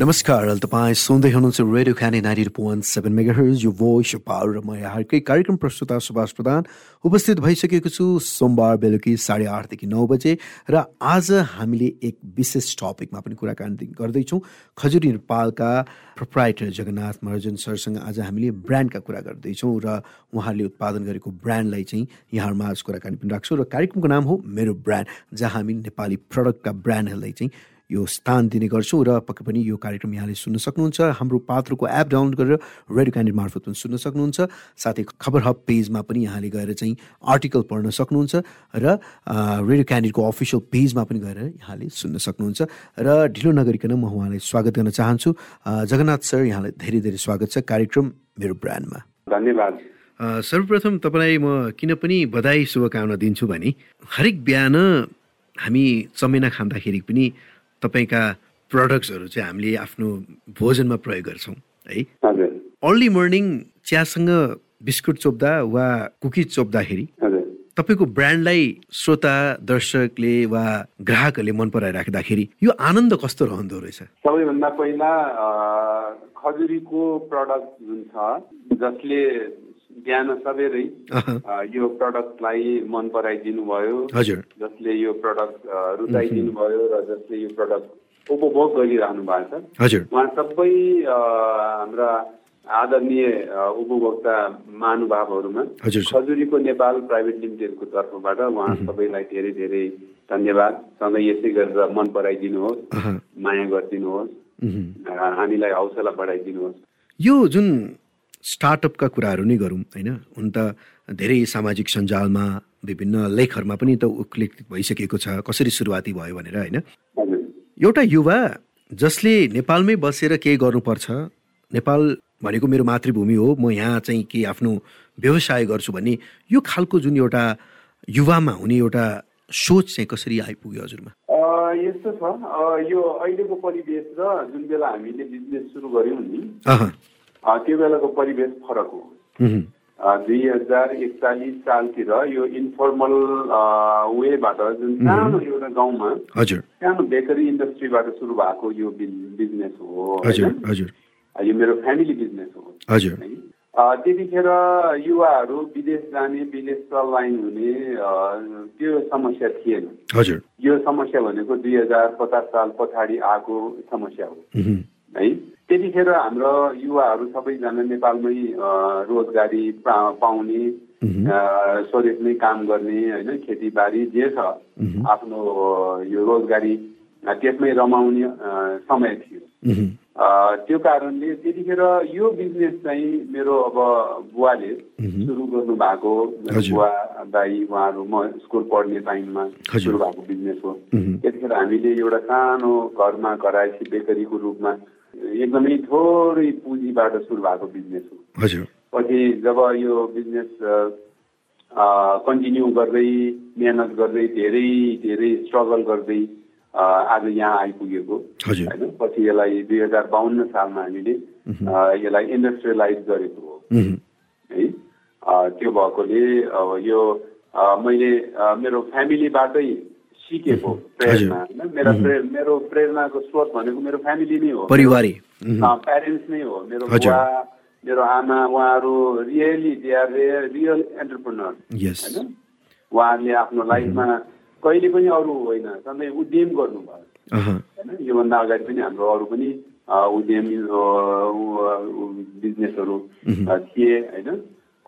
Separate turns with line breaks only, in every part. नमस्कार तपाईँ सुन्दै हुनुहुन्छ रेडियो खाने ninety two point seven megahertz यो भोइस अफ पावर र म यहाँकै कार्यक्रम प्रस्तुता सुभाष प्रधान उपस्थित भइसकेको छु सोमबार बेलुकी साढे आठदेखि नौ बजे र आज हामीले एक विशेष टपिकमा पनि कुराकानी गर्दैछौँ खजुरी नेपालका प्रोप्राइटर जगन्नाथ महर्जन सरसँग आज हामीले ब्रान्डका कुरा गर्दैछौँ र उहाँहरूले उत्पादन गरेको ब्रान्डलाई चाहिँ यहाँहरूमा आज कुराकानी पनि राख्छौँ र कार्यक्रमको नाम हो मेरो ब्रान्ड जहाँ हामी नेपाली प्रडक्टका ब्रान्डहरूलाई चाहिँ यो स्थान दिने गर्छौँ र पक्कै पनि यो कार्यक्रम यहाँले सुन्न सक्नुहुन्छ हाम्रो पात्रको एप डाउनलोड गरेर रेडियो क्यान्डिड मार्फत पनि सुन्न सक्नुहुन्छ साथै खबर हब पेजमा पनि यहाँले गएर चाहिँ आर्टिकल पढ्न सक्नुहुन्छ र रेडियो क्यान्डिडको अफिसियल पेजमा पनि गएर यहाँले सुन्न सक्नुहुन्छ र ढिलो नगरिकन म उहाँलाई स्वागत गर्न चाहन्छु जगन्नाथ सर यहाँलाई धेरै धेरै स्वागत छ कार्यक्रम मेरो ब्रान्डमा
धन्यवाद
सर्वप्रथम तपाईँलाई म किन पनि बधाई शुभकामना दिन्छु भने हरेक बिहान हामी चमेना खाँदाखेरि पनि तपाईँका प्रडक्ट्सहरू चाहिँ हामीले आफ्नो भोजनमा प्रयोग गर्छौँ है
हजुर
अर्ली मर्निङ चियासँग बिस्कुट चोप्दा वा कुकी चोप्दाखेरि
हजुर
तपाईँको ब्रान्डलाई श्रोता दर्शकले वा ग्राहकहरूले मन पराइराख्दाखेरि यो आनन्द कस्तो रहँदो रहेछ
सबैभन्दा पहिला अ, खजुरीको प्रडक्ट जुन छ जसले बिहान सबेरै
अह,
अ, यो प्रडक्टलाई मन पराइदिनु भयो
हजुर
जसले यो प्रडक्ट अ, रुचाइदिनु भयो र जसले यो प्रडक्ट उपभोग गरिरहनु भएको छ
हजुर
उहाँ सबै अ, हाम्रा आदरणीय अ, उपभोक्ता महानुभावहरूमा
हजुर सर
खजुरीको नेपाल प्राइभेट लिमिटेडको तर्फबाट उहाँ सबैलाई धेरै धेरै धन्यवाद सँगै यसै गरेर मन पराइदिनुहोस्
अह,
माया गरिदिनुहोस्
उहुँ।
अ, हामीलाई हौसला बढाइदिनुहोस्
यो जुन स्टार्टअपका कुराहरू नै गरौँ होइन हुन त धेरै सामाजिक सञ्जालमा विभिन्न लेखहरूमा पनि त उल्लेखित भइसकेको छ कसरी सुरुवाती भयो भनेर होइन
हजुर
एउटा युवा जसले नेपालमै बसेर केही गर्नुपर्छ नेपाल भनेको मेरो मातृभूमि हो म यहाँ चाहिँ केही आफ्नो व्यवसाय गर्छु भन्ने यो खालको जुन एउटा युवामा हुने एउटा सोच चाहिँ कसरी आइपुग्यो हजुरमा
अ, यस्तो छ अ, यो अहिलेको परिवेश र जुन बेला हामीले बिजनेस सुरु गऱ्यौँ नि
अह,
अ, त्यो बेलाको परिवेश फरक हो
उहुँ,
अ, दुई हजार एकचालिस सालतिर यो इन्फर्मल अ, वेबाट जुन सानो एउटा गाउँमा
हजुर
सानो बेकरी इन्डस्ट्रीबाट सुरु भएको यो बिज- बिजनेस हो
हजुर
होइन?
हजुर
यो मेरो फ्यामिली बिजनेस हो
हजुर
है अ, त्यतिखेर युवाहरू विदेश जाने विदेश सलाइन हुने अ, त्यो समस्या थिएन
हजुर
यो समस्या भनेको दुई हजार पचास साल पछाडि आएको समस्या हो
उहुँ,
है त्यतिखेर हाम्रो युवाहरू सबैजना नेपालमै अ, रोजगारी पा- पाउने
उहुँ,
अ, स्वदेशमै काम गर्ने होइन खेतीबारी जे छ
उहुँ,
आफ्नो अ, यो रोजगारी अ, त्यसमै रमाउने अ, समय थियो
उहुँ,
अ, त्यो कारणले त्यतिखेर यो बिजनेस चाहिँ मेरो अब बुवाले
उहुँ,
सुरु गर्नु भएको मेरो
हजुर।
बुवा दाई उहाँहरू म स्कुल पढ्ने टाइममा
हजुर।
सुरु भएको बिजनेस हो
उहुँ,
त्यतिखेर हामीले एउटा सानो घरमा घरायसी बेकरीको रूपमा एकदमै थोरै पुँजीबाट सुरु भएको बिजनेस हो
हजुर
पछि जब यो बिजनेस कन्टिन्यू गर्दै मेहनत गर्दै धेरै धेरै स्ट्रगल गर्दै अ, आज यहाँ आइपुगेको
हजुर
होइन पछि यसलाई दुई हजार बाहन्न सालमा हामीले
उहुँ,
अ, यसलाई इन्डस्ट्रियलाइज गरेको हो
उहुँ,
है अ, त्यो भएकोले अब यो अ, मैले अ, मेरो फ्यामिलीबाटै सिकेको प्रेरणा होइन मेरा प्रे- मेरो प्रेरणाको स्रोत भनेको मेरो फ्यामिली नै हो
परिवारै उहुँ,
प्यारेन्ट्स नै हो मेरो
हजुर।
बुवा मेरो आमा उहाँहरू really they are real entrepreneur
यस
होइन उहाँहरूले आफ्नो लाइफमा कहिले पनि अरू होइन सधैँ उद्यम गर्नुभयो
अह,
होइन योभन्दा अगाडि पनि हाम्रो अरू पनि अ, उद्यमी अ, उ- उ- बिजनेसहरू अ, थिए होइन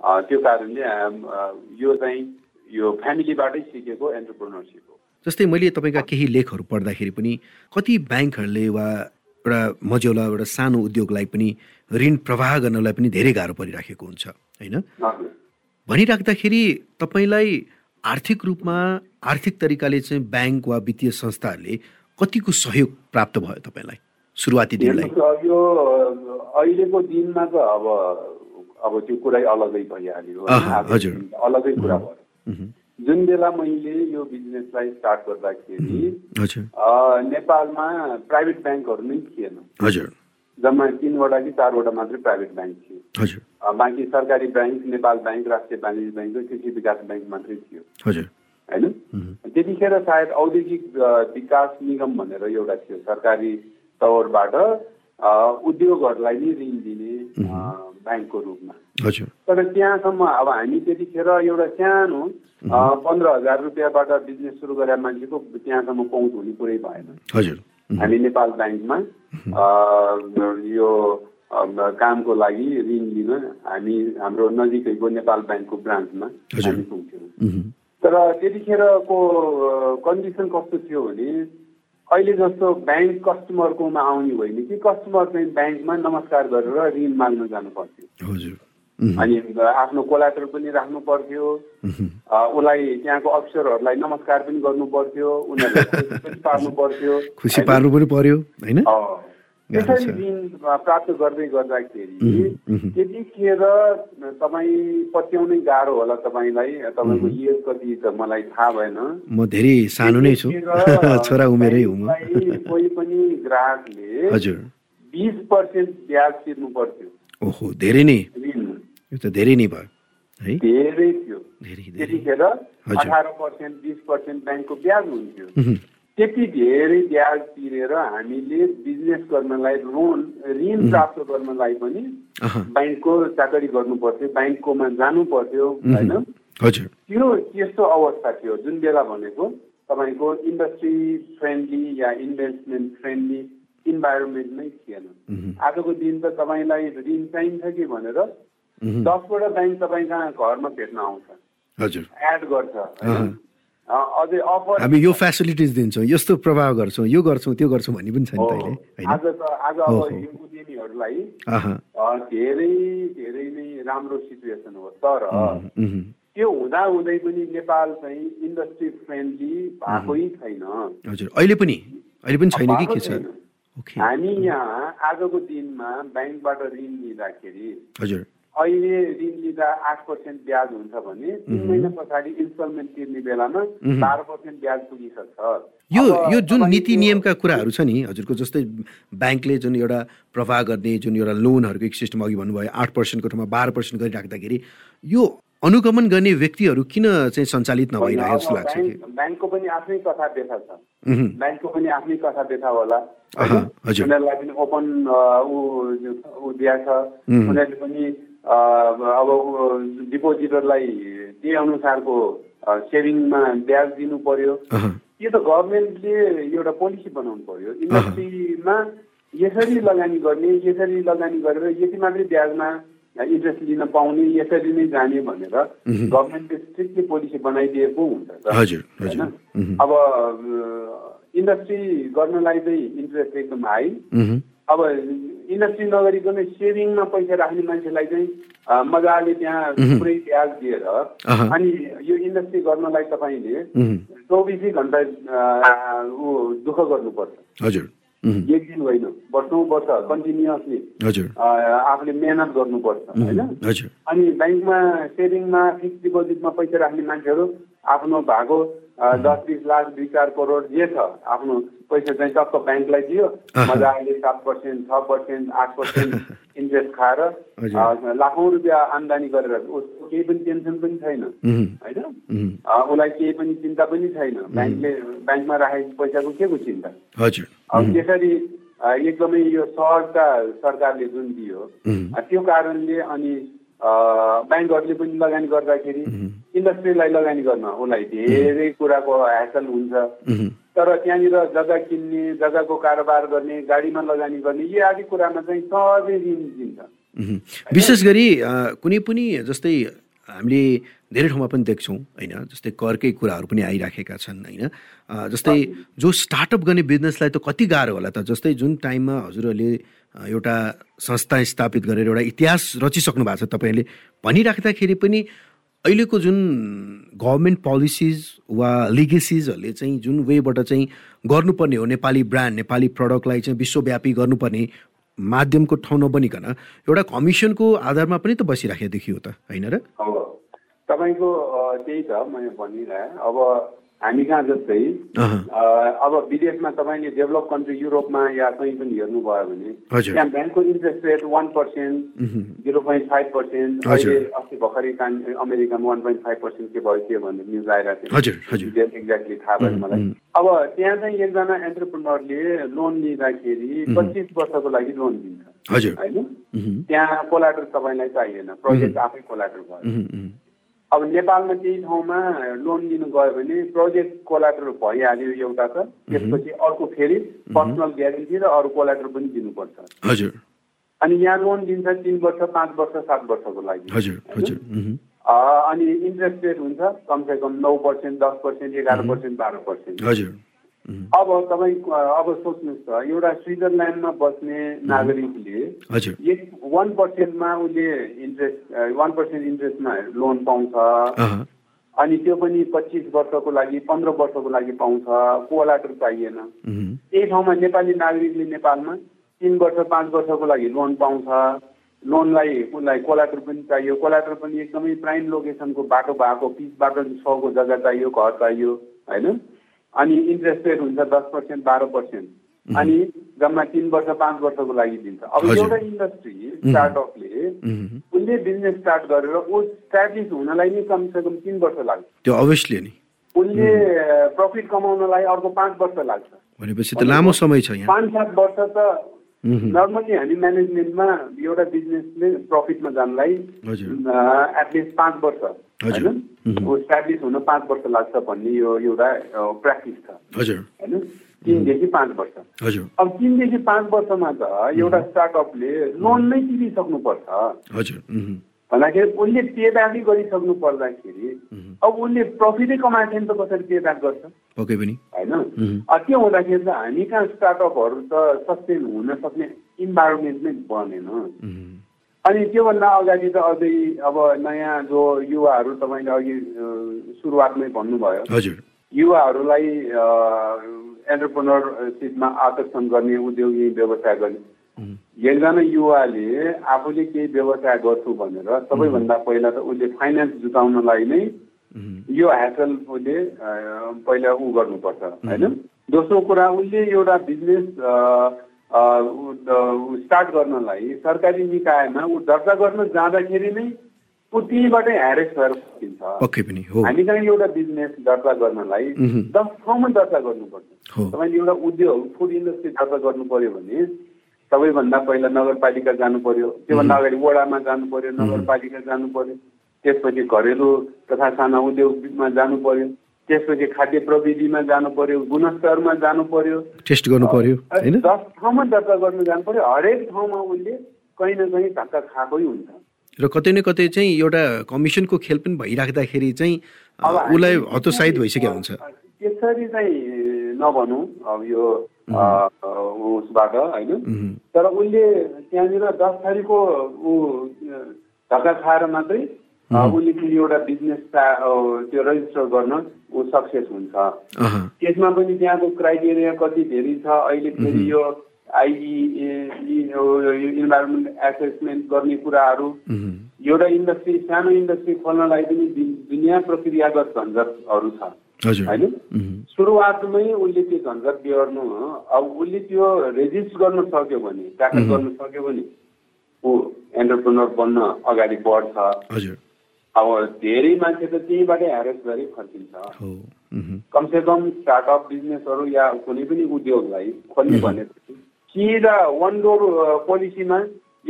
अ, त्यो कारणले हाम- अ, यो चाहिँ यो फ्यामिलीबाटै सिकेको एन्टरप्रेनरसिप हो
जस्तै मैले तपाईँका केही लेखहरू पढ्दाखेरि पनि कति ब्याङ्कहरूले वा एउटा मझौला एउटा सानो उद्योगलाई पनि ऋण प्रवाह गर्नलाई पनि धेरै गाह्रो परिराखेको हुन्छ होइन
हजुर।
भनिराख्दाखेरि तपाईँलाई आर्थिक रूपमा आर्थिक तरिकाले चाहिँ ब्याङ्क वा वित्तीय संस्थाहरूले कतिको सहयोग प्राप्त भयो तपाईँलाई सुरुवाती दिनलाई
हेर्नुहोस्, अब यो अ, अहिलेको दिनमा त अब अब त्यो कुरै अलगै भइहाल्यो होइन?
अहँ,
आजको
हजुर।
दिन त अलगै कुरा भयो
उहुँ,
जुन बेला मैले यो बिजनेसलाई स्टार्ट गर्दाखेरि
हजुर
अ, नेपालमा प्राइभेट ब्याङ्कहरू नै थिएन
हजुर
जम्मा तिनवटा कि चारवटा मात्रै प्राइभेट ब्याङ्क थियो
हजुर
अ, बाँकी सरकारी ब्याङ्क नेपाल ब्याङ्क राष्ट्रिय वाणिज्य ब्याङ्क र कृषि विकास ब्याङ्क मात्रै थियो
हजुर
होइन
उहुँ,
त्यतिखेर सायद औद्योगिक अ, विकास निगम भनेर एउटा थियो सरकारी तौरबाट अ, उद्योगहरूलाई नै ऋण दिने अ, ब्याङ्कको रूपमा
हजुर
तर त्यहाँसम्म अब हामी त्यतिखेर एउटा सानो अ, पन्ध्र हजार रुपियाँबाट बिजनेस सुरु गरेर मान्छेको त्यहाँसम्म पहुँच हुने कुरै भएन
हजुर उम्,
हामी नेपाल ब्याङ्कमा
Mhm.
अ, यो अ, कामको लागि ऋण लिन हामी हाम्रो नजिकैको नेपाल ब्याङ्कको ब्रान्चमा
हजुर।
हामी पुग्थ्यौँ
उम्,
तर त्यतिखेरको कन्डिसन कस्तो थियो भने अहिले जस्तो ब्याङ्क कस्टमरकोमा आउने होइन कि कस्टमर चाहिँ ब्याङ्कमा नमस्कार गरेर ऋण माग्न जानु पर्थ्यो
हजुर उम्,
अनि आफ्नो कोलाटर पनि राख्नु पर्थ्यो
उम्,
अ, उसलाई त्यहाँको अफिसरहरूलाई नमस्कार पनि गर्नु पर्थ्यो उनीहरूलाई खुसी पनि पार्नु पर्थ्यो
खुसी पार्नु पनि पर्यो होइन
अ,
गाह्रो
त्यसरी
छ।
ऋण प्राप्त गर्दै गर्दाखेरि
उम्, उम्,
त्यतिखेर तपाईँ पत्याउनै गाह्रो होला तपाईँलाई तपाईँको इयर कति त मलाई थाहा भएन
म धेरै सानो नै छु
त्यतिखेर
छोरा उमेरै हुँ म
तपाईँलाई कोही पनि ग्राहकले
हजुर
बिस पर्सेन्ट ब्याज तिर्नु पर्थ्यो
ओहो धेरै नै
ऋणमा
यो त धेरै नै भयो है
धेरै थियो
धेरै धेरै
त्यतिखेर
हजुर।
अठार पर्सेन्ट बिस पर्सेन्ट ब्याङ्कको ब्याज हुन्थ्यो
उम्,
त्यति धेरै ब्याज तिरेर हामीले बिजनेस गर्नलाई लोन ऋण प्राप्त गर्नलाई पनि
अहँ,
ब्याङ्कको चाकरी गर्नु पर्थ्यो ब्याङ्ककोमा जानु पर्थ्यो
उम्,
होइन
हजुर
त्यो त्यस्तो अवस्था थियो जुन बेला भनेको तपाईँको इन्डस्ट्री फ्रेन्डली या इन्भेस्टमेन्ट फ्रेन्डली इन्भाइरोमेन्ट नै थिएन
उम्,
आजको दिन त तपाईँलाई ऋण चाहिन्छ कि भनेर
उम्,
दसवटा ब्याङ्क तपाईँ कहाँ घरमा भेट्न आउँछ
हजुर
एड गर्छ होइन?
अहँ।
अ, अझै अफर
हामी यो फेसिलिटिज दिन्छौँ यस्तो प्रभाव गर्छौँ यो गर्छौँ त्यो गर्छौँ भन्ने पनि छ नि
हो,
तैँले
आज
होइन
त आज अब
हो, हो।
यो उद्यमीहरूलाई
आहा,
अ, धेरै धेरै नै राम्रो सिचुएसन हो तर
उम्, उम्,
त्यो हुँदाहुँदै पनि नेपाल चाहिँ इन्डस्ट्री फ्रेन्डली भएकै छैन
हजुर अहिले पनि अहिले पनि छैन कि
भएको
के छ
छैन।
ओके
हामी यहाँ आजको दिनमा ब्याङ्कबाट ऋण लिँदाखेरि
हजुर
अहिले ऋण लिँदा आठ पर्सेन्ट ब्याज हुन्छ भने तिन महिना पछाडि इन्स्टलमेन्ट तिर्ने बेलामा बाह्र पर्सेन्ट ब्याज पुगिसक्छ
यो
अब
यो जुन
तपाईँको-
नीति नियमका कुराहरू छ नि हजुरको जस्तै ब्याङ्कले जुन एउटा प्रवाह गर्ने जुन एउटा लोनहरूको एक सिस्टम अघि भन्नुभयो आठ पर्सेन्टको ठाउँमा बाह्र पर्सेन्ट गरिराख्दाखेरि यो अनुगमन गर्ने व्यक्तिहरू किन चाहिँ सञ्चालित
होइन,
नभइरहेको जस्तो
अब
लाग्छ कि
ब्याङ्क- ब्याङ्कको पनि आफ्नै कथा व्यथा छ
उहुँ,
ब्याङ्कको पनि आफ्नै कथा व्यथा होला
अह,
होइन?
हजुर।
उनीहरूलाई पनि ओपन ऊ ऊ दिया छ
उम्.
उनीहरूले पनि अ, अब ऊ डिपोजिटरलाई त्यही अनुसारको अ, सेभिङमा ब्याज दिनु पर्यो
अह,
यो त गभर्मेन्टले एउटा पोलिसी बनाउनु पर्यो इन्डस्ट्रीमा यसरी लगानी गर्ने यसरी लगानी गरेर यति मात्रै ब्याजमा इन्ट्रेस्ट लिन पाउने यसरी नै जाने भनेर गभर्मेन्टले स्ट्रिक्टली पोलिसी बनाइदिएको हुन्छ त
हजुर हजुर
होइन अब अ, इन्डस्ट्री गर्नलाई चाहिँ इन्ट्रेस्ट एकदम हाई
उहुँ,
अब इन्डस्ट्री नगरिकन सेभिङमा पैसा राख्ने मान्छेलाई चाहिँ अ, मजाले त्यहाँ पुरै ब्याज दिएर
अहँ।
अनि यो इन्डस्ट्री गर्नलाई तपाईँले
उहुँ,
चौबिसै घन्टा अ, ऊ दुःख गर्नुपर्छ
हजुर उहुँ,
एक दिन होइन वर्षौँ वर्ष कन्टिन्युसली
हजुर
आफूले मेहनत गर्नुपर्छ होइन
उहुँ, हजुर
अनि ब्याङ्कमा सेभिङमा फिक्स डिपोजिटमा पैसा राख्ने मान्छेहरू आफ्नो भएको अ, दस बिस लाख दुई चार करोड जे छ आफ्नो पैसा चाहिँ टक्क ब्याङ्कलाई दियो
अहँ।
मजाले सात पर्सेन्ट छ पर्सेन्ट आठ पर्सेन्ट इन्ट्रेस्ट खाएर
हजुर।
अ, लाखौँ रुपियाँ आम्दानी गरेर उसको केही पनि टेन्सन पनि छैन
उहुँ,
होइन
उहुँ,
अ, उसलाई केही पनि चिन्ता पनि छैन ब्याङ्कले ब्याङ्कमा राखेको पैसाको के को चिन्ता
हजुर
अब त्यसरी अ, एकदमै यो सहजता सरकारले जुन दियो
उहुँ,
अ, त्यो कारणले अनि अ, ब्याङ्कहरूले पनि लगानी गर्दाखेरि इन्डस्ट्रीलाई लगानी गर्न उसलाई धेरै कुराको ह्यासल हुन्छ
उहुँ,
तर त्यहाँनिर जग्गा किन्ने जग्गाको कारोबार गर्ने गाडीमा लगानी गर्ने यो आदि कुरामा चाहिँ सहजै ऋण दिन्छ
मह्म। विशेष गरी अ, कुनै पनि जस्तै हामीले धेरै ठाउँमा पनि देख्छौँ होइन जस्तै करकै कुराहरू पनि आइराखेका छन् होइन अ, जस्तै जो स्टार्टअप गर्ने बिजनेसलाई त कति गाह्रो होला त जस्तै जुन टाइममा हजुरहरूले अ, एउटा संस्था स्थापित गरेर एउटा इतिहास रचिसक्नु भएको छ तपाईँहरूले भनिराख्दाखेरि पनि अहिलेको जुन गभर्मेन्ट पोलिसिज वा लिगेसिजहरूले चाहिँ जुन वेबाट चाहिँ गर्नुपर्ने हो नेपाली ब्रान्ड नेपाली प्रडक्टलाई चाहिँ विश्वव्यापी गर्नुपर्ने माध्यमको ठाउँ नबनिकन एउटा कमिसनको आधारमा पनि त बसिराखेको देखियो त होइन र
अब तपाईँको अ, त्यही त मैले भनिरहेँ अब हामी कहाँ जस्तै
अहँ।
अ, अब विदेशमा तपाईँले डेभलप कन्ट्री युरोपमा या कहीँ पनि हेर्नुभयो भने
हजुर।
त्यहाँ ब्याङ्कको interest rate one percent zero point five percent
हजुर।
अहिले अस्ति भर्खरै कान- अमेरिकामा वान पोइन्ट फाइभ पर्सेन्ट के भयो के भन्ने न्युज आइरहेको थियो
हजुर, हजुर।
डिटेल एक्ज्याक्टली थाहा भएन मलाई अब त्यहाँ चाहिँ एकजना एन्टरप्रेनरले लोन लिँदाखेरि पच्चिस वर्षको लागि लोन दिन्छ
हजुर
होइन
मह्म,
त्यहाँ कोलाटर तपाईँलाई चाहिएन प्रोजेक्ट आफै कोलाटर भयो
मह्म, मह्म,
अब नेपालमा केही ठाउँमा लोन लिनु गयो भने प्रोजेक्ट कोलाटर भइहाल्यो एउटा त त्यसपछि अर्को फेरि पर्सनल ग्यारेन्टी र अरू कोलाटर पनि दिनुपर्छ
हजुर
अनि यहाँ लोन दिन्छ तिन वर्ष पाँच वर्ष सात वर्षको लागि
हजुर हजुर मह्म,
अ, अनि इन्ट्रेस्ट रेट हुन्छ कमसेकम नौ पर्सेन्ट दस पर्सेन्ट एघार पर्सेन्ट बाह्र पर्सेन्ट
हजुर मह्म,
अब तपाईँ अब सोच्नुहोस् त एउटा स्विजरल्यान्डमा बस्ने नागरिकले
हजुर
यस वान पर्सेन्टमा उसले इन्ट्रेस्ट वान पर्सेन्ट इन्ट्रेस्टमा लोन पाउँछ
अहँ,
अनि त्यो पनि पच्चिस वर्षको लागि पन्ध्र वर्षको लागि पाउँछ कोलाटर चाहिएन
मह्म,
त्यही ठाउँमा नेपाली नागरिकले नेपालमा तिन वर्ष पाँच वर्षको लागि लोन पाउँछ लोनलाई उसलाई कोलाटर पनि चाहियो कोलाटर पनि एकदमै प्राइम लोकेसनको बाटो भएको पिच बाटो सौको जग्गा चाहियो घर चाहियो होइन अनि इन्ट्रेस्ट रेट हुन्छ दस पर्सेन्ट बाह्र पर्सेन्ट अनि जम्मा तिन वर्ष पाँच वर्षको लागि दिन्छ अब
हजुर।
एउटा इन्डस्ट्री स्टार्टअपले
मह्म।
उसले बिजनेस स्टार्ट गरेर ऊ स्ट्याब्लिस हुनलाई नै कमसेकम तिन वर्ष लाग्छ
त्यो अवश्यले नि
उसले प्रफिट कमाउनलाई अर्को पाँच वर्ष लाग्छ
भनेपछि त लामो समय छ यहाँ
पाँच सात वर्ष त
मह्म,
नर्मली हामी म्यानेजमेन्टमा एउटा बिजनेसले प्रफिटमा जानलाई
हजुर
एटलिस्ट पाँच वर्ष
हजुर।
होइन ऊ स्ट्याब्लिस हुन पाँच वर्ष लाग्छ भन्ने यो एउटा प्र्याक्टिस छ
हजुर
होइन तिनदेखि पाँच वर्ष
हजुर
अब तिनदेखि पाँच वर्षमा त एउटा स्टार्टअपले लोन नै तिरिसक्नुपर्छ
हजुर मह्म,
भन्दाखेरि उसले पेब्याकै गरिसक्नु पर्दाखेरि अब उसले प्रफिटै कमाएको छैन त कसरी पेब्याक गर्छ
पक्कै पनि
होइन अब त्यो हुँदाखेरि त हामी कहाँ स्टार्टअपहरू त सस्टेन हुन सक्ने इन्भाइरोमेन्ट नै बनेन
मह्म,
अनि त्योभन्दा अगाडि त अझै अब नयाँ जो युवाहरू तपाईँले अघि अ, सुरुवातमै भन्नुभयो
हजुर
युवाहरूलाई एन्टरप्रेनरसिपमा आकर्षण गर्ने उद्योगी व्यवसाय गर्ने
मह्म,
एकजना युवाले आफूले केही व्यवसाय गर्छु भनेर सबैभन्दा पहिला त उसले फाइनेन्स जुटाउनलाई नै
मह्म,
यो ह्यासल उसले अ, पहिला ऊ गर्नुपर्छ होइन दोस्रो कुरा उसले एउटा बिजनेस अ, अ, उ- द- उ स्टार्ट गर्नलाई सरकारी निकायमा ऊ दर्ता गर्न जाँदाखेरि नै ऊ त्यहीँबाटै ह्यारेस भएर फर्किन्छ
पक्कै पनि हो
हामी कहाँ एउटा बिजनेस दर्ता गर्नलाई
मह्म।
दस ठाउँमा दर्ता गर्नुपर्छ
हो।
तपाईँले एउटा उद्योग फुड इन्डस्ट्री दर्ता गर्नु पर्यो भने सबैभन्दा पहिला नगरपालिका जानु पर्यो त्योभन्दा अगाडि वडामा जानु पर्यो नगरपालिका जानु पर्यो त्यसपछि घरेलु तथा साना उद्योगमा जानु पर्यो त्यसपछि खाद्य प्रविधिमा जानु पर्यो गुणस्तरमा जानु पर्यो
टेस्ट गर्नु पर्यो होइन
दस ठाउँमा दर्ता गर्नु जानु पर्यो हरेक ठाउँमा उसले कहीँ न कहीँ धक्का खाएकै हुन्छ
र कतै न कतै चाहिँ एउटा कमिसनको खेल पनि भइराख्दाखेरि चाहिँ अ,
अब हामी-
उसलाई हतोत्साहित भइसकेको हुन्छ
त्यसरी चाहिँ नभनौँ अब यो अ, अ, उसबाट होइन
मह्म,
तर उसले त्यहाँनिर दस थरीको ऊ अ, धक्का खाएर मात्रै अ, उसले फेरि एउटा बिजनेस त्यो रेजिस्टर गर्न ऊ सक्सेस हुन्छ
अहँ,
त्यसमा पनि त्यहाँको क्राइटेरिया कति धेरै छ अहिले फेरि यो आइई इन्भाइरोमेन्ट एसेसमेन्ट गर्ने कुराहरू
मह्म,
एउटा इन्डस्ट्री सानो इन्डस्ट्री खोल्नलाई पनि दु- दुनियाँ प्रक्रियागत झन्झटहरू छ
हजुर
होइन?
मह्म,
सुरुवातमै उसले त्यो झन्झट बिहोर्नु अब उसले त्यो रेजिस्ट गर्न सक्यो भने ट्याकल गर्न सक्यो भने ऊ एन्टरप्रेनर बन्न अगाडि बढ्छ
हजुर
अब धेरै मान्छे त त्यहीबाट ह्यारेस गरी फर्किन्छ
हो मह्म,
कमसेकम स्टार्टअप बिजनेसहरू या कुनै पनि उद्योगलाई खोल्ने भनेपछि सिधा वान डोर पोलिसीमा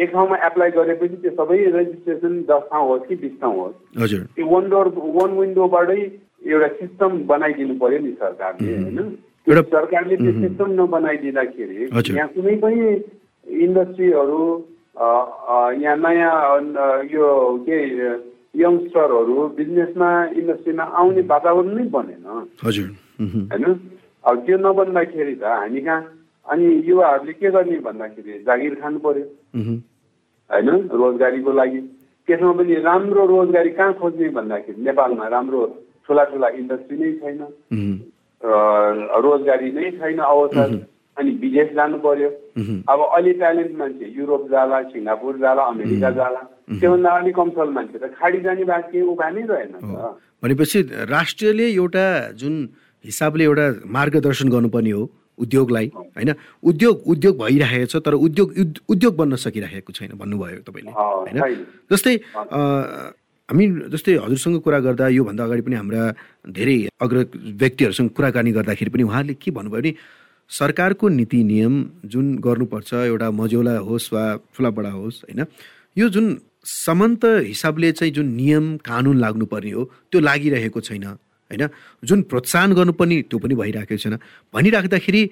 एक ठाउँमा एप्लाई गरेपछि त्यो सबै रेजिस्ट्रेसन दस ठाउँ होस् कि बिस ठाउँ होस्
हजुर
त्यो वान डोर वान विन्डोबाटै एउटा सिस्टम बनाइदिनु पर्यो नि सरकारले होइन
एउटा-
सरकारले त्यो सिस्टम नबनाइदिँदाखेरि
हजुर।
यहाँ कुनै पनि इन्डस्ट्रीहरू अ, अ, यहाँ नयाँ अ, यो के यङ्स्टरहरू बिजनेसमा इन्डस्ट्रीमा आउने वातावरण नै बनेन
हजुर मह्म,
होइन अब त्यो नबन्दाखेरि त हामी कहाँ अनि युवाहरूले के गर्ने भन्दाखेरि जागिर खानु पर्यो
मह्म,
होइन रोजगारीको लागि त्यसमा पनि राम्रो रोजगारी कहाँ खोज्ने भन्दाखेरि नेपालमा राम्रो ठुला ठुला इन्डस्ट्री नै छैन
मह्म,
र रोजगारी नै छैन अवसर अनि विदेश जानु पर्यो
मह्म,
अब अलि ट्यालेन्ट मान्छे युरोप जाला सिङ्गापुर जाला अमेरिका जाला त्योभन्दा अलि कमसल मान्छे त खाडी जाने बाँकी उपाय नै रहेन नि
हो।
त
भनेपछि राष्ट्रले एउटा जुन हिसाबले एउटा मार्गदर्शन गर्नुपर्ने हो उद्योगलाई होइन उद्योग उद्योग भइरहेको छ तर उद्योग उद्- उद्योग बन्न सकिरहेको छैन भन्नुभयो तपाईँले
अँ,
होइन
छैन।
जस्तै अ, हामी जस्तै हजुरसँग कुरा गर्दा योभन्दा अगाडि पनि हाम्रा धेरै अग्र व्यक्तिहरूसँग कुराकानी गर्दाखेरि पनि उहाँले के भन्नुभयो भने सरकारको नीति नियम जुन गर्नुपर्छ एउटा मजौला होस् वा ठुला बडा होस् होइन यो जुन समन्त हिसाबले चाहिँ जुन नियम कानुन लाग्नुपर्ने हो त्यो लागिरहेको छैन होइन जुन प्रोत्साहन गर्नुपर्ने त्यो पनि भइरहेको छैन भनिराख्दाखेरि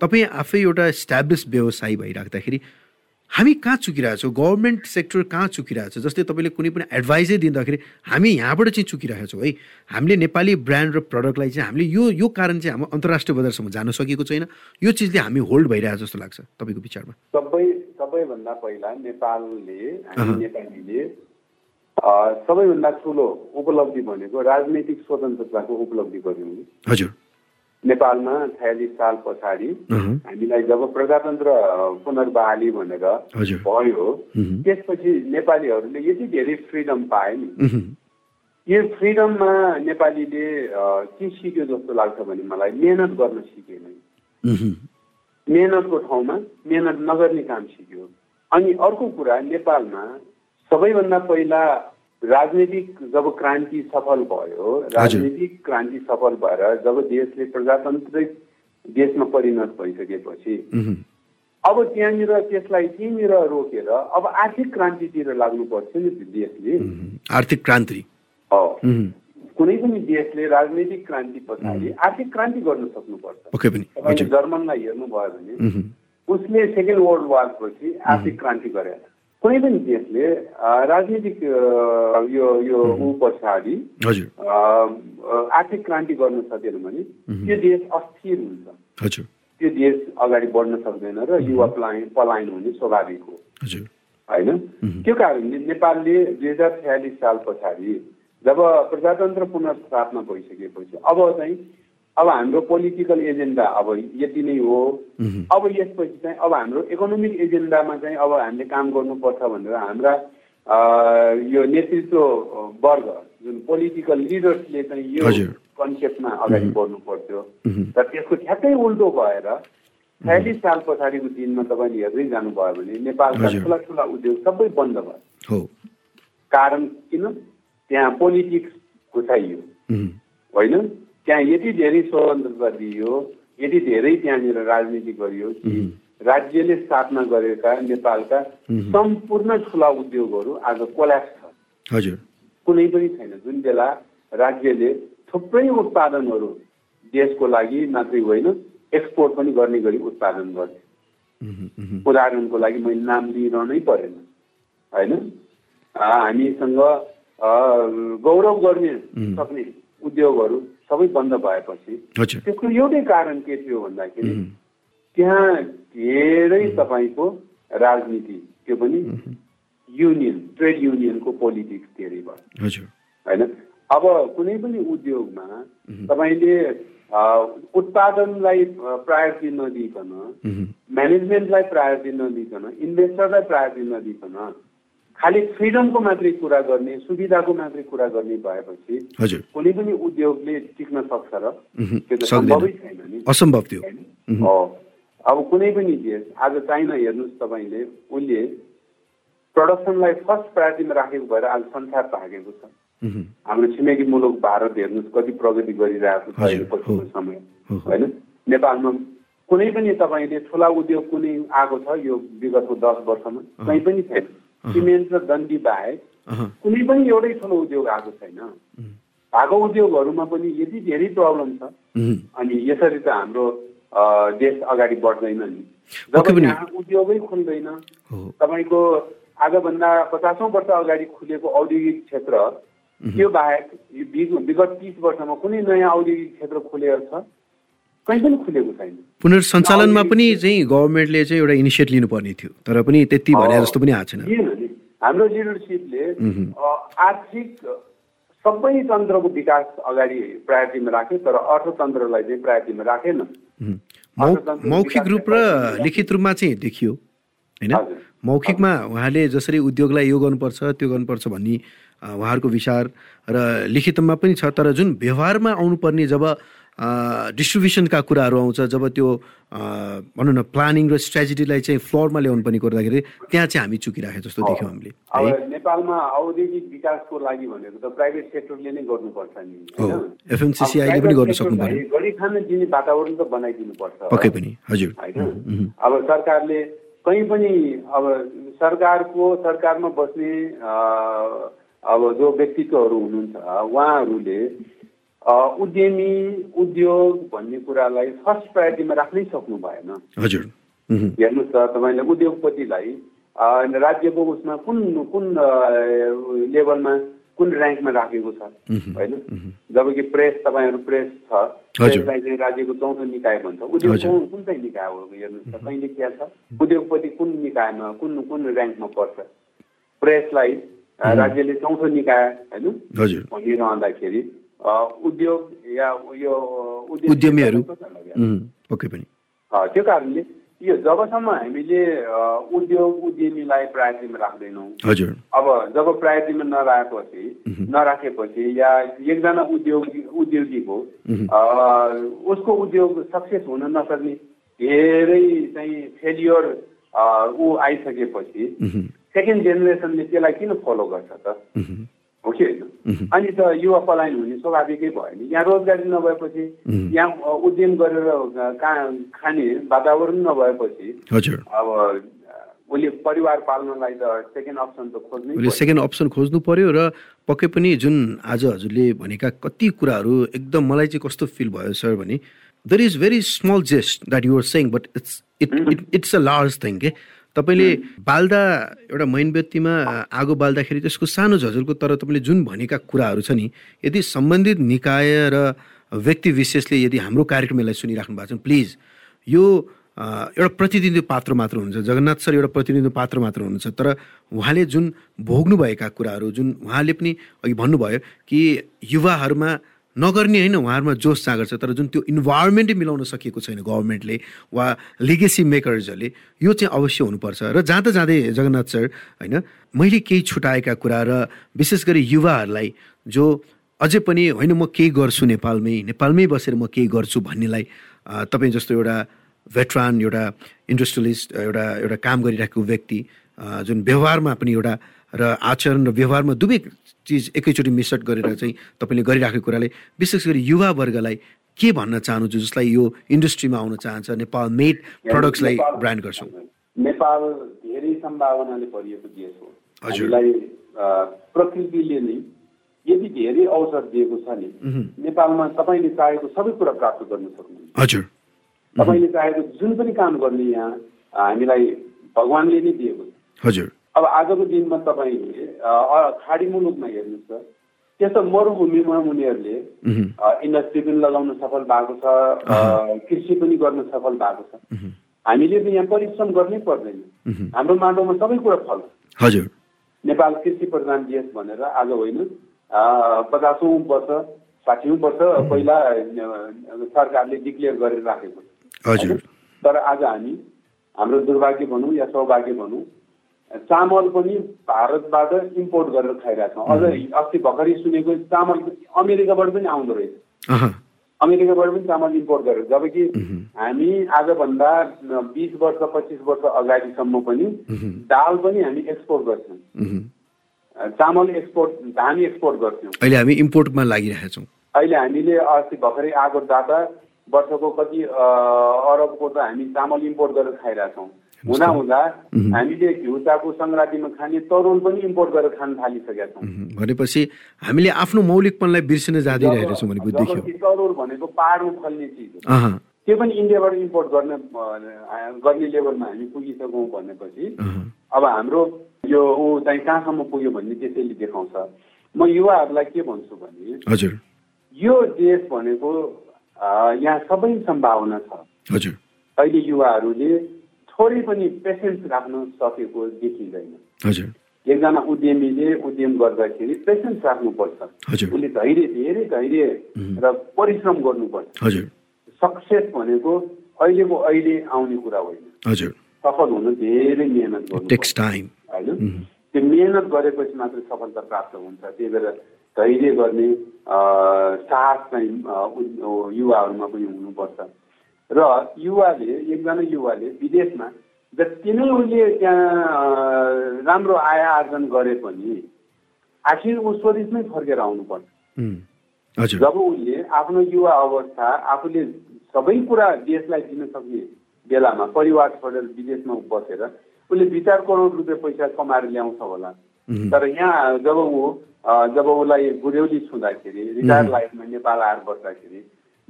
तपाईँ आफै एउटा स्ट्याब्लिस व्यवसायी भइराख्दाखेरि हामी कहाँ चुकिरहेछौँ गभर्मेन्ट सेक्टर कहाँ चुकिरहेछ जस्तै तपाईँले कुनै पनि एडभाइजै दिँदाखेरि हामी यहाँबाट चाहिँ चुकिरहेछौँ है हामीले नेपाली ब्रान्ड र प्रडक्टलाई चाहिँ हामीले यो यो कारण चाहिँ हाम्रो अन्तर्राष्ट्रिय बजारसम्म जान सकेको छैन यो चिजले हामी होल्ड भइरहेको जस्तो लाग्छ तपाईँको विचारमा
सबै सबैभन्दा पहिला नेपालले हामी नेपालीले अ, सबैभन्दा ठुलो उपलब्धि भनेको राजनैतिक स्वतन्त्रताको उपलब्धि गऱ्यौँ
हजुर
नेपालमा छयालिस साल पछाडि
अहँ,
हामीलाई जब प्रजातन्त्र अ, पुनर्बहाली भनेर
हजुर
भयो
उहुँ,
त्यसपछि नेपालीहरूले यति धेरै फ्रिडम पाए नि
उहुँ,
यो फ्रिडममा नेपालीले अ, के सिक्यो जस्तो लाग्छ भने मलाई मेहनत गर्न सिकेन
उहुँ,
मेहनतको ठाउँमा मेहनत नगर्ने काम सिक्यो अनि अर्को कुरा नेपालमा सबैभन्दा पहिला राजनीतिक जब क्रान्ति सफल भयो राजनीतिक क्रान्ति सफल भएर जब देशले प्रजातान्त्रिक देशमा परिणत भइसकेपछि
उहुँ,
अब त्यहाँनिर त्यसलाई त्यहीँनिर रोकेर अब आर्थिक क्रान्तितिर लाग्नु पर्थ्यो नि देशले
उहुँ, आर्थिक क्रान्ति
हो।
उहुँ,
कुनै पनि देशले राजनीतिक क्रान्ति पछाडि आर्थिक क्रान्ति गर्न सक्नुपर्छ
पक्कै पनि
तपाईँले
हजुर
जर्मनलाई हेर्नुभयो भने
उहुँ,
उसले सेकेन्ड वर्ल्ड वारपछि आर्थिक क्रान्ति गरे कुनै पनि देशले अ, राजनीतिक अ, यो यो ऊ पछाडि
हजुर
अ, अ, आर्थिक क्रान्ति गर्न सकेन भने त्यो देश अस्थिर हुन्छ
हजुर
त्यो देश अगाडि बढ्न सक्दैन र युवा पलायन पलायन हुने स्वाभाविक हो
हजुर
होइन त्यो कारणले नेपालले दुई हजार छयालिस साल पछाडि जब प्रजातन्त्र पुनर्स्थापना भइसकेपछि अब चाहिँ अब हाम्रो पोलिटिकल एजेन्डा अब यति नै हो
उहुँ,
अब यसपछि चाहिँ अब हाम्रो इकोनोमिक एजेन्डामा चाहिँ अब हामीले काम गर्नुपर्छ भनेर हाम्रा अ, यो नेतृत्व वर्ग जुन पोलिटिकल लिडर्सले चाहिँ यो
हजुर।
कन्सेप्टमा अगाडि बढ्नु पर्थ्यो
उहुँ,
र त्यसको ठ्याक्कै उल्टो भएर छयालिस साल पछाडिको दिनमा तपाईँले हेर्दै जानुभयो भने नेपालका
हजुर।
ठुला ठुला उद्योग सबै बन्द भयो
हो
कारण किन त्यहाँ पोलिटिक्स घुसाइयो
उहुँ,
होइन त्यहाँ यति धेरै स्वतन्त्रता दिइयो यति धेरै त्यहाँनिर राजनीति गरियो कि राज्यले स्थापना गरेका नेपालका सम्पूर्ण ठुला उद्योगहरू आज कोल्याप्स छ
हजुर
कुनै पनि छैन जुन बेला राज्यले थुप्रै उत्पादनहरू देशको लागि मात्रै होइन एक्सपोर्ट पनि गर्ने गरी उत्पादन गर्थे
उहुँ, उहुँ,
उदाहरणको लागि मैले नाम लिइरहनै परेन होइन आ, हामीसँग अ, गौरव गर्ने सक्ने उद्योगहरू सबै बन्द भएपछि
हजुर
त्यसको एउटै कारण के थियो भन्दाखेरि
उहुँ,
त्यहाँ धेरै तपाईँको राजनीति त्यो पनि युनियन ट्रेड युनियनको पोलिटिक्स धेरै भयो
हजुर
होइन अब कुनै पनि उद्योगमा तपाईँले अ, उत्पादनलाई प्रायोरिटी नदिकन
उहुँ,
म्यानेजमेन्टलाई प्रायोरिटी नदिकन इन्भेस्टरलाई प्रायोरिटी नदिकन खालि फ्रिडमको मात्रै कुरा गर्ने सुविधाको मात्रै कुरा गर्ने भएपछि
हजुर
कुनै पनि उद्योगले टिक्न सक्छ र
उहुँ,
त्यो त
सक्दैन।
सम्भवै छैन नि
असम्भव थियो
होइन हो। अब कुनै पनि देश आज चाइना हेर्नुहोस् तपाईँले उसले प्रडक्सनलाई फर्स्ट प्रायोरिटीमा राखेको भएर आज संसार भागेको छ
उहुँ,
हाम्रो छिमेकी मुलुक भारत हेर्नुहोस् कति प्रगति गरिरहेको छ
हजुर,
अहिले पछिल्लो
हो।
समय
हो, हो।
होइन नेपालमा कुनै पनि तपाईँले ठुला उद्योग कुनै आएको छ यो विगतको दस वर्षमा कहीँ पनि छैन सिमेन्ट र दण्डी बाहेक
अहँ,
कुनै पनि एउटै ठुलो उद्योग आएको छैन
उहुँ,
भएको उद्योगहरूमा पनि यति धेरै प्रब्लम छ
उहुँ,
अनि यसरी त हाम्रो अ, देश अगाडि बढ्दैन नि जब
पक्कै पनि।
यहाँ उद्योगै खुल्दैन
हो
तपाईँको आजभन्दा पचासौँ वर्ष अगाडि खुलेको औद्योगिक क्षेत्र त्यो बाहेक यो बिग- विगत तिस वर्षमा कुनै नयाँ औद्योगिक क्षेत्र खुलेको छ कहीँ पनि खुलेको छैन
पुनर्सञ्चालनमा पनि चाहिँ गभर्मेन्टले चाहिँ एउटा इनिसिएट लिनुपर्ने थियो तर पनि त्यति भने जस्तो पनि आएको छैन
किनभने हाम्रो लिडरसिपले अ, आर्थिक सबै तन्त्रको विकास अगाडि प्रायोरिटीमा राख्यो तर अर्थतन्त्रलाई चाहिँ प्रायोरिटीमा राखेन
मौ- मौखिक रूप र लिखित रूपमा चाहिँ देखियो होइन
हजुर।
मौखिकमा उहाँले जसरी उद्योगलाई यो गर्नुपर्छ त्यो गर्नुपर्छ भन्ने अ, उहाँहरूको विचार र लिखितमा पनि छ तर जुन व्यवहारमा आउनुपर्ने जब डिस्ट्रिब्युसनका कुराहरू आउँछ जब त्यो अ, भनौँ न प्लानिङ र स्ट्रेटेजीलाई चाहिँ फ्लोरमा ल्याउनु पर्ने गर्दाखेरि त्यहाँ चाहिँ हामी चुकिराखेको जस्तो देख्यौँ हामीले
अब
है
नेपालमा औद्योगिक विकासको लागि भनेको त प्राइभेट सेक्टरले नै गर्नुपर्छ नि
हो
होइन?
एफएमसिसिआईले
अब
पनि
private
गर्न सक्नु
sectorलाई गरी खान दिने वातावरण त बनाइदिनुपर्छ
पक्कै पनि हजुर
होइन अब सरकारले कहीँ पनि अब सरकारको सरकारमा बस्ने अ, अब जो व्यक्तित्वहरू हुनुहुन्छ उहाँहरूले अ, उद्यमी उद्योग भन्ने कुरालाई फर्स्ट प्रायोरिटीमा राख्नै सक्नु भएन
हजुर उम्,
हेर्नुहोस् त तपाईँले उद्योगपतिलाई अ, राज्यको उसमा कुन कुन अ, लेभलमा कुन ऱ्याङ्कमा राखेको छ होइन जबकि प्रेस तपाईँहरू प्रेस छ
हजुर।
प्रेसलाई चाहिँ राज्यको चौथो निकाय भन्छ उद्योग
हजुर।
कुन कुन चाहिँ निकाय हो हेर्नुहोस् त कहिले क्या छ उद्योगपति कुन निकायमा कुन कुन ऱ्याङ्कमा पर्छ प्रेसलाई अ, राज्यले चौथो निकाय होइन
हजुर
भनिरहँदाखेरि अ, उद्योग या यो उद्योग-
उद्यमीहरू।
कसलाई लग्यो?
उम्, पक्कै पनि
अ, त्यो कारणले यो जबसम्म हामीले अ, उद्योग उद्यमीलाई प्रायोरिटीमा राख्दैनौँ
हजुर
अब जब प्रायोरिटीमा नराखेपछि नराखेपछि या एकजना उद्योग उद्योगीको अ, उसको उद्योग सक्सेस हुन नसक्ने धेरै चाहिँ फेलियर अ, ऊ आइसकेपछि
उम्,
सेकेन्ड जेनेरेसनले त्यसलाई किन फलो गर्छ त
उम्,
हो कि होइन अनि त युवा पलायन हुने स्वाभाविकै भयो नि यहाँ रोजगारी नभएपछि यहाँ अ, उद्यम गरेर अ, कहाँ खाने वातावरण नभएपछि
हजुर
अब अ, उसले परिवार पाल्नलाई त सेकेन्ड अप्सन त खोज्नै
उसले
पर्यो।
सेकेन्ड अप्सन खोज्नु पर्यो र पक्कै पनि जुन आज हजुरले भनेका कति कुराहरू एकदम मलाई चाहिँ कस्तो फिल भयो सर भने there is very small jest that you're saying but it's it it it's a large thing के तपाईँले बाल्दा एउटा मैन व्यक्तिमा आगो बाल्दाखेरि त्यसको सानो झझलको तर तपाईँले जुन भनेका कुराहरू छ नि यदि सम्बन्धित निकाय र व्यक्ति विशेषले यदि हाम्रो कार्यक्रम यसलाई सुनिराख्नु भएको छ भने प्लिज यो अ, एउटा प्रतिनिधित्व पात्र मात्र हुनुहुन्छ जगन्नाथ सर एउटा प्रतिनिधित्व पात्र मात्र हुनुहुन्छ तर उहाँले जुन भोग्नुभएका कुराहरू जुन उहाँले पनि अघि भन्नुभयो कि युवाहरूमा नगर्ने होइन उहाँहरूमा जोस जाँगर छ तर जुन त्यो इन्भाइरोमेन्टै मिलाउन सकिएको छैन गभर्मेन्टले वा लिगेसी मेकर्सहरूले यो चाहिँ अवश्य हुनुपर्छ र जाँदा जाँदै जगन्नाथ सर होइन मैले केही छुटाएका कुरा र विशेष गरी युवाहरूलाई जो अझै पनि होइन म केही गर्छु नेपालमै नेपालमै बसेर म केही गर्छु भन्नेलाई अ, तपाईँ जस्तो एउटा भेटरान एउटा इन्डस्ट्रियलिस्ट एउटा एउटा काम गरिरहेको व्यक्ति अ, जुन व्यवहारमा पनि एउटा र आचरण र व्यवहारमा दुवै चिज एकैचोटि मिसट गरेर चाहिँ तपाईँले गरिराखेको कुराले विशेष गरी युवावर्गलाई के भन्न चाहनुहुन्छ जसलाई यो इन्डस्ट्रीमा आउन चाहन्छ नेपाल मेड प्रडक्ट्सलाई
नेपाल-
ब्रान्ड गर्छौँ
नेपाल धेरै सम्भावनाले भरिएको देश हो
हजुर।
हामीलाई अ, प्रकृतिले नै यदि धेरै अवसर दिएको छ नि नेपालमा तपाईँले चाहेको सबै कुरा प्राप्त गर्न सक्नुहुन्छ
हजुर
तपाईँले चाहेको जुन पनि काम गर्ने यहाँ अ, हामीलाई भगवान्ले नै दिएको छ
हजुर
अब आजको दिनमा तपाईँले अ, अ, खाडी मुलुकमा हेर्नुहोस् त त्यस्तो मरुभूमिमा उनीहरूले अ, इन्डस्ट्री पनि लगाउन सफल भएको छ अ, कृषि पनि गर्न सफल भएको छ हामीले त यहाँ परिश्रम गर्नै पर्दैन हाम्रो माटोमा सबै कुरा फल्छ
हजुर
नेपाल कृषि प्रधान देश भनेर आज होइन अ, पचासौँ वर्ष साठीौँ वर्ष पहिला अ, सरकारले डिक्लेयर गरेर राखेको छ
हजुर
तर आज हामी हाम्रो दुर्भाग्य भनौँ या सौभाग्य भनौँ चामल पनि भारतबाट इम्पोर्ट गरेर खाइरहेको छौँ अझ अस्ति भर्खरै सुनेको चामल अमेरिकाबाट पनि आउँदो रहेछ
अह
अमेरिकाबाट पनि चामल इम्पोर्ट गरेर जबकि हामी आजभन्दा बिस वर्ष पच्चिस वर्ष अगाडिसम्म पनि दाल पनि हामी एक्सपोर्ट गर्थ्यौँ
उम्हुम्।
चामल एक्सपोर्ट धान एक्सपोर्ट गर्थ्यौँ
अहिले हामी इम्पोर्टमा लागिरहेका छौँ
अहिले हामीले अस्ति भर्खरै आएको डाटा वर्षको कति अ, अरबको त हामी चामल इम्पोर्ट गरेर खाइरहेछौँ हुँदा हुँदा हामीले घिउचाको सङ्क्रान्तिमा खाने तरुल पनि इम्पोर्ट गरेर खान थालिसकेका छौँ
उम्, भनेपछि हामीले आफ्नो मौलिकपनलाई बिर्सिन जाँदिरहेको छौँ भनेको देखियो
जबकि तरुल भनेको पाहाडमा फल्ने चिज हो
अहँ,
त्यो पनि इन्डियाबाट इम्पोर्ट गर्न अ, गर्ने लेभलमा हामी पुगिसक्यौँ भनेपछि
अहँ,
अब हाम्रो यो ऊ चाहिँ कहाँसम्म पुग्यो भन्ने त्यसैले देखाउँछ म युवाहरूलाई के भन्छु भने
हजुर
यो देश भनेको अ, यहाँ सबै सम्भावना छ
हजुर
अहिले युवाहरूले थोरै पनि पेसेन्स राख्न सकेको देखिँदैन
हजुर
एकजना उद्यमीले उद्यम गर्दाखेरि पेसेन्स राख्नुपर्छ
हजुर
उसले धैर्य धेरै धैर्य र परिश्रम गर्नुपर्छ
हजुर
सक्सेस भनेको अहिलेको अहिले आउने कुरा होइन
हजुर
सफल हुनु धेरै मिहिनेत गर्नु
टेक्स टाइम
होइन त्यो मिहिनेत गरेपछि मात्र सफलता प्राप्त हुन्छ त्यही भएर धैर्य गर्ने अ, साहस चाहिँ अ, उन- ओ, युवाहरूमा पनि हुनुपर्छ र युवाले एकजना युवाले विदेशमा जति नै उसले त्यहाँ अ, राम्रो आय आर्जन गरे पनि आखिर ऊ स्वदेशमै फर्केर आउनुपर्छ
हजुर
जब उसले आफ्नो युवा अवस्था आफूले सबै कुरा देशलाई दिन सक्ने बेलामा परिवार छोडेर विदेशमा बसेर उसले दुई चार करोड रुपियाँ पैसा कमाएर ल्याउँछ होला
उम्,
तर यहाँ जब ऊ अ, जब उसलाई बुढ्यौली छुँदाखेरि रिटायर लाइफमा नेपाल आएर बस्दाखेरि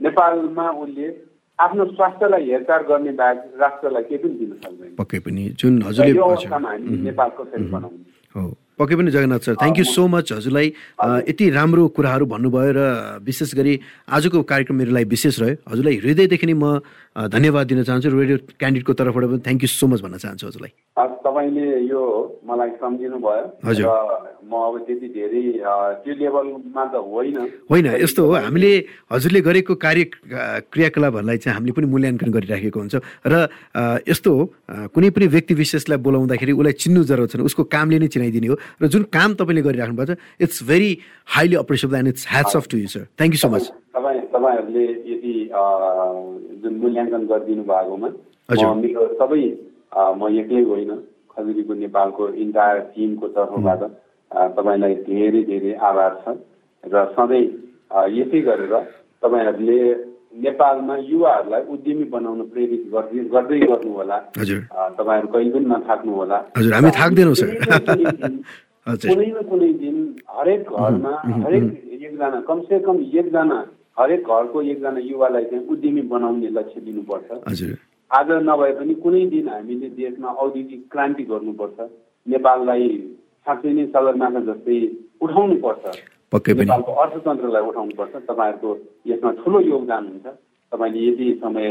नेपालमा उसले आफ्नो स्वास्थ्यलाई हेरचाह गर्ने बाहेक राष्ट्रलाई केही पनि दिन सक्दैन
पक्कै पनि जुन
र
हजुरले
यो
हजुर
अवस्थामा हामी नेपाल कसरी बनाउने
हो पक्कै पनि Jagannath sir thank you so much हजुरलाई अ, यति राम्रो कुराहरू भन्नुभयो र विशेष गरी आजको कार्यक्रम मेरो लागि विशेष रह्यो हजुरलाई हृदयदेखि नै म अ, धन्यवाद दिन चाहन्छु रेडियो क्यान्डिडेटको तर्फबाट पनि थ्याङ्क यू सो मच भन्न चाहन्छु हजुरलाई
अ, तपाईँले यो मलाई सम्झिनु भयो
हजुर।
र म अब त्यति धेरै अ, त्यो लेभलमा त होइन
होइन यस्तो हो हामीले हजुरले गरेको कार्य अ, क्रियाकलापहरूलाई चाहिँ हामीले पनि मूल्याङ्कन गरिराखेको हुन्छ र अ, यस्तो हो अ, कुनै पनि व्यक्ति विशेषलाई बोलाउँदाखेरि उसलाई चिन्नु जरुरत छैन उसको कामले नै चिनाइदिने हो र जुन काम तपाईँले गरिराख्नुभएको छ it's very highly appreciable and it's hats off to you sir thank you so much
तपाईँ तपाईँहरूले यति अ, जुन मूल्याङ्कन गरिदिनु भएकोमा
हजुर।
म मेरो सबै अ, म एक्लै होइन खजुरीको नेपालको इन्टायर टिमको तर्फबाट अ, तपाईँलाई धेरै धेरै आभार छ र सधैँ अ, यसै गरेर तपाईँहरूले नेपालमा युवाहरूलाई उद्यमी बनाउन प्रेरित गर्दै गर्दै गर्नुहोला
हजुर
अ, तपाईँहरू कहिले पनि नथाक्नु होला
हजुर, हामी थाक्दैनौँ, सर। हजुर।
कुनै न कुनै दिन हरेक घरमा हरेक एकजना कमसे कम एकजना हरेक घरको एकजना युवालाई चाहिँ उद्यमी बनाउने लक्ष्य लिनुपर्छ
हजुर
आज नभए पनि कुनै दिन हामीले देशमा औद्योगिक क्रान्ति गर्नुपर्छ नेपाललाई साँच्चै नै सगरमाथा जस्तै उठाउनुपर्छ
पक्कै पनि
नेपालको अर्थतन्त्रलाई उठाउनुपर्छ तपाईँहरूको यसमा ठुलो योगदान हुन्छ तपाईँले यति समय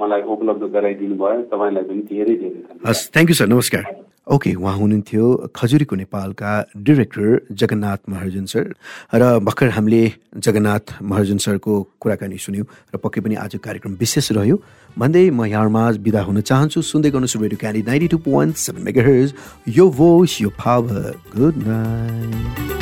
मलाई उपलब्ध गराइदिनु भयो तपाईँलाई पनि धेरै धेरै धन्यवाद
हस् थ्याङ्क यू सर नमस्कार ओके उहाँ हुनुहुन्थ्यो खजुरीको नेपालका डिरेक्टर जगन्नाथ महर्जन सर र भर्खर हामीले जगन्नाथ महर्जन सरको कुराकानी सुन्यौँ र पक्कै पनि आजको कार्यक्रम विशेष रह्यो भन्दै म यहाँमाझ बिदा हुन चाहन्छु सुन्दै गर्नुहोस् रेडियो क्याली ninety two point seven mega यो भोइस यो पावर गुड नाइट